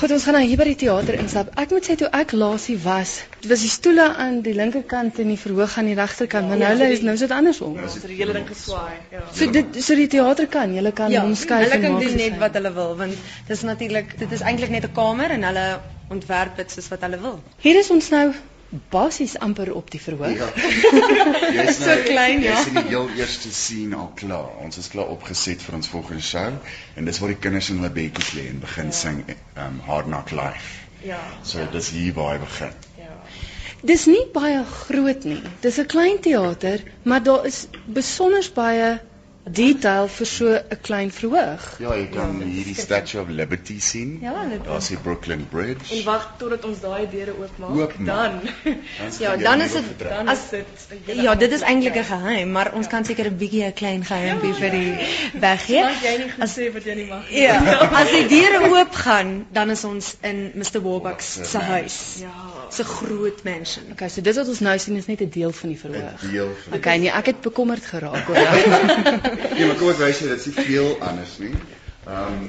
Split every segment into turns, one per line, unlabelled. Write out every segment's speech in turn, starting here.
Goed, ons gaan nou hier by die teater instap. Ek moet sê toe ek laasie was, was die stoele aan die linkerkant en die verhoog aan die regterkant, maar nou is nou so dit andersom.
Ons het die hele ding geswaai. Ja.
So dit so die teater kan, jy kan
Ja,
hom skuif
hulle
en
kan
maak
doen
soos hy.
net wat hulle wil want dit is natuurlik dit is eintlik net 'n kamer en hulle ontwerp dit soos wat hulle wil.
Hier is ons nou basies amper op die verhoog.
Ja.
Dis so klein, ja.
Dis nou in die heel eerste scene al klaar. Ons is klaar opgeset vir ons volgende show en dis waar die kinders in hulle bedjies lê en begin sing um Hard Knock Life.
Ja.
So dis hier waar hy begin.
Ja.
Dis nie baie groot nie. Dis 'n klein teater, maar daar is besonder baie detail vir so 'n klein verhoog.
Ja, jy kan hierdie Statue of Liberty sien.
Ja, dit-
daar's die Brooklyn Bridge.
Wag totdat ons daai deure oopmaak.
Oopmaak.
Ja, dan is dit dan as dit Ja, dit is eintlik 'n geheim, maar ons kan seker 'n bietjie 'n klein geheimpie vir die weggee.
Jy nie goed sê wat jy nie mag.
Ja, as die deure oop gaan, dan is ons in Mr Warbucks se huis.
Ja.
Se groot mansion.
Okay, so dit wat ons nou sien is net 'n deel van die verhoog.
'n deel van.
Okay, nee, ek het bekommerd geraak hoor.
Nee, maar kom ek wys jou, dit is nie veel anders nie. Ehm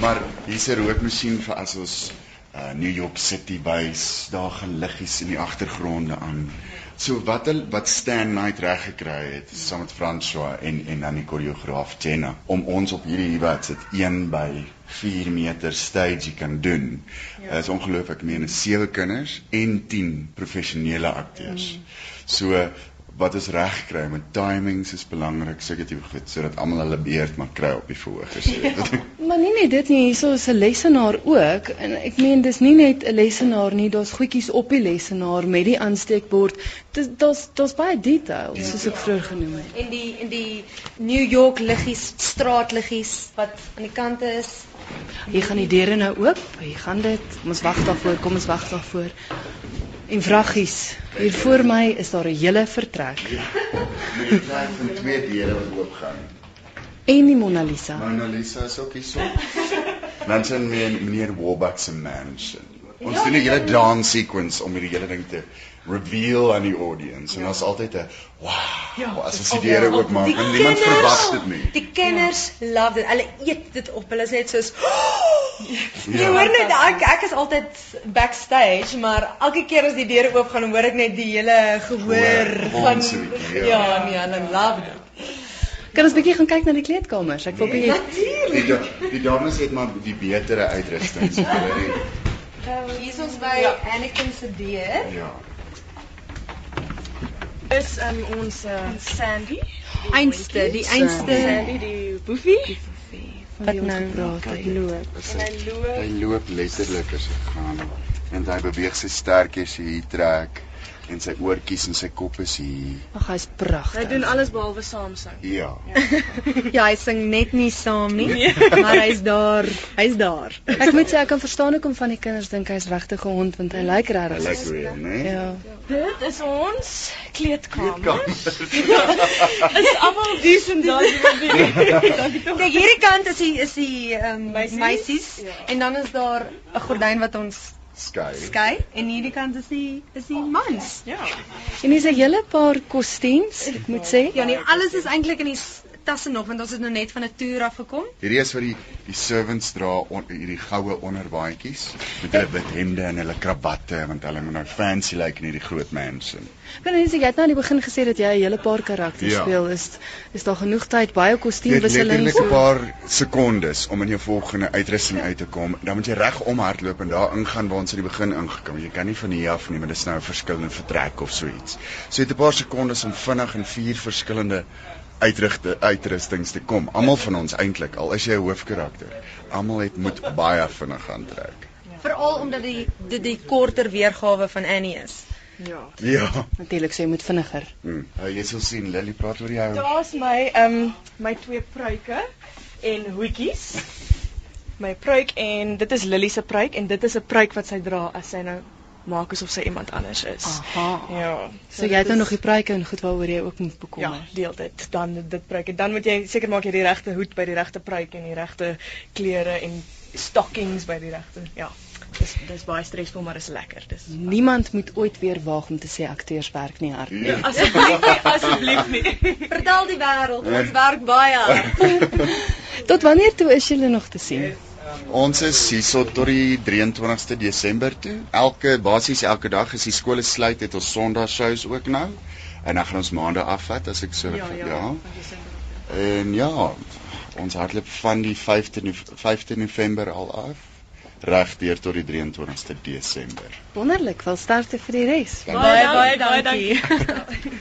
maar hier's 'n rookmasjien vir as ons uh, New York City bys, daar gaan liggies in die agtergronde aan. So wat hulle- wat Stan Knight reg gekry het saam met François en en dan die koreograaf Jenna om ons op hierdie wat sit 1 by 4 meter stage kan doen. Dit is ongelooflik, ek meen is sewe kinders en 10 professionele akteurs. So wat is reg kry met timings is belangrik seker dit goed sodat almal hulle beurt maar kry op die verhoog is dit
maar nie net dit nie, hierso is 'n lesenaar ook en ek meen dis nie net 'n lesenaar nie, daar's goedjies op die lesenaar met die aansteekbord. Dis daar's daar's baie detail soos ek vroeër genoem het.
En die in die New York liggies, straatliggies wat aan die kante is.
Hier gaan die deure nou oop. Hier gaan dit. Kom ons wag daarvoor. Kom ons wag daarvoor. En vraggies. Hier voor my is daar 'n hele vertrek
met die klein van twee deure wat oop gaan
en die Mona Lisa.
Mona Lisa is ook hierso dan sien men meneer Warbuck se mansion ons doen 'n hele dance sequence om hierdie hele ding te reveal aan die audience en daar's altyd 'n wow as ons die deure oopmaak en niemand verwag dit nie
Die kinders love dit. Hulle eet dit op. Hulle is net soos "Oh!" Jy
Ja.
hoor net ek ek is altyd backstage, maar elke keer as die deure oop gaan, hoor ek net die hele gehoor
Gehoor,
van
bonsoetjie,
ja,
ja.
nee, hulle love dit.
Kan ons bietjie gaan kyk na die kleedkamers? Ek wil bietjie
die, da- die dames het maar die betere uitrusting so hulle het-
Eh, Hier is ons by Anakin se deur.
ja
Is um, ons uh, Sandy,
Einste, die einste.
Sandy die boefie.
wat nou gepraat het.
Loop.
En hy loop.
Hy loop letterlik as hy gaan en hy beweeg sy stertjies hier trek en sy oortjies en sy kop is hier.
Ag, hy's
Hy doen
pragtig.
alles behalwe saam sing.
Ja.
Ja, hy sing net nie saam nie, maar hy's daar. Hy's daar.
Ek moet sê ek kan verstaan hoekom van die kinders dink hy's regtig 'n hond want hy lyk
Hy
regtig.
lyk reël, né?
Ja.
Dit is ons kleedkamer.
Kom.
Is almal decent daar die
Kyk, hierdie kant is die is die um, meisies,
Meisies?
meisies ja. en dan is daar 'n gordyn wat ons
Skei.
skei en hierdie kant is die is die mans.
Ja.
En hier's 'n hele paar kostuums, ek moet sê.
Ja nee, alles is eintlik in die s- tasse nog want ons het nou net van 'n toer af gekom.
Hierdie is wat die die servants dra on, hierdie goue onderbaadjies met hulle wit hemde en hulle kravatte want hulle moet nou fancy lyk like in hierdie groot mansion.
Kan jy sê jy het nou aan die begin gesê dat jy 'n hele paar karakters
Ja.
speel. Is is daar genoeg tyd, baie
Jy het
kostuumwisselings?
letterlik 'n paar sekondes om in jou volgende uitrusting uit te kom. Dan moet jy reg omhardloop en daar ingaan waar ons aan die begin ingekom het. Jy kan nie van hier af nie, maar dis nou 'n verskillende vertrek of so iets. So jy het 'n paar sekondes om vinnig in vier verskillende uitrigte uitrustings te kom. Almal van ons eintlik, al is jy 'n hoofkarakter, almal het moet baie vinnig aantrek.
Veral omdat die dit die korter weergawe van Annie is.
Ja.
Ja.
Natuurlik, so jy moet vinniger.
Mm. Uh, jy sal sien Lily praat oor jou.
Daar's my ehm um, my twee pruike en hoedjies. My pruik en dit is Lily se pruik en dit is 'n pruik wat sy dra as sy nou maak asof sy iemand anders is.
Aha.
Ja.
So jy
dit
het nou
is-
nog die pruike en goed waaroor jy ook moet
Ja,
bekommer.
deeltyd dan dit pruik en dan moet jy seker maak jy die regte hoed by die regte pruik en die regte klere en stockings by die regte. Ja. Dis dis baie stresvol maar is lekker. Dis
Niemand moet ooit weer waag om te sê akteurs werk nie hard nie.
Ja.
Asseblief, nie, asseblief nie.
Vertel die wêreld, ons werk baie. hard.
Tot wanneer toe is julle nog te sien?
Ons is hierso tot die 23ste Desember toe. Elke basies elke dag as die skole sluit, het ons Sondagshows ook nou. En dan gaan ons maandag afvat as ek so
Ja, ja,
En ja, ons hardloop van die 5de Nov- 5de November al af reg deur tot die 23ste Desember.
Wonderlik, wel sterkte vir die res.
Baie baie baie dankie.